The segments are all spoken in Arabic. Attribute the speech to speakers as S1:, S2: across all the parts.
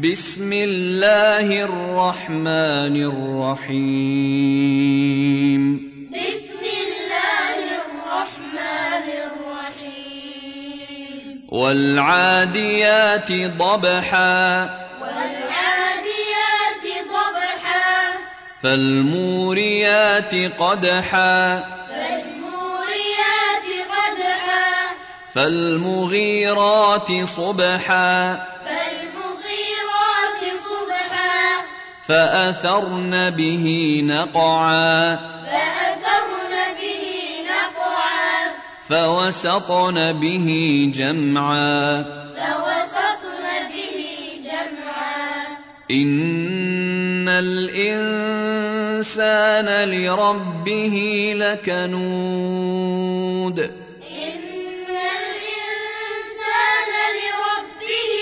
S1: بسم الله الرحمن الرحيم
S2: بسم الله الرحمن الرحيم
S1: والعاديات ضبحا
S2: والعاديات ضبحا
S1: فالموريات قدحا
S2: فالموريات قدحا
S1: فالمغيرات صبحا
S2: فالمغيرات صبحا
S1: فأثرن به نقعا
S2: فأثرن به نقعا
S1: فوسطن به جمعا
S2: فوسطن به جمعا
S1: إن الإنسان لربه لكنود
S2: إن الإنسان لربه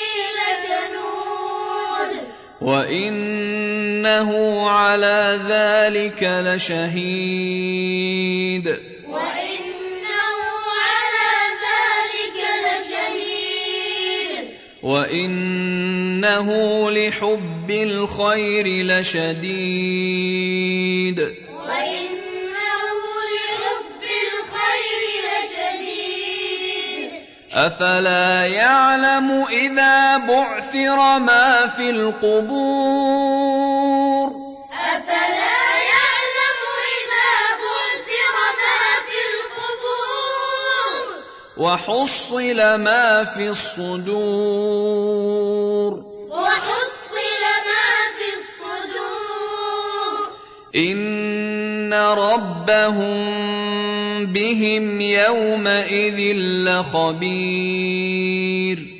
S2: لكنود
S1: وإنه على ذلك لشهيد
S2: وإنه على ذلك لشهيد
S1: وإنه لحب الخير لشديد
S2: وإنه لحب الخير لشديد
S1: أفلا يعلم إذا بعثر ما في القبور
S2: أفلا يعلم إذا بعثر ما في القبور
S1: وحصل ما في الصدور
S2: وحصل ما في الصدور
S1: إن ربهم بهم يومئذ لخبير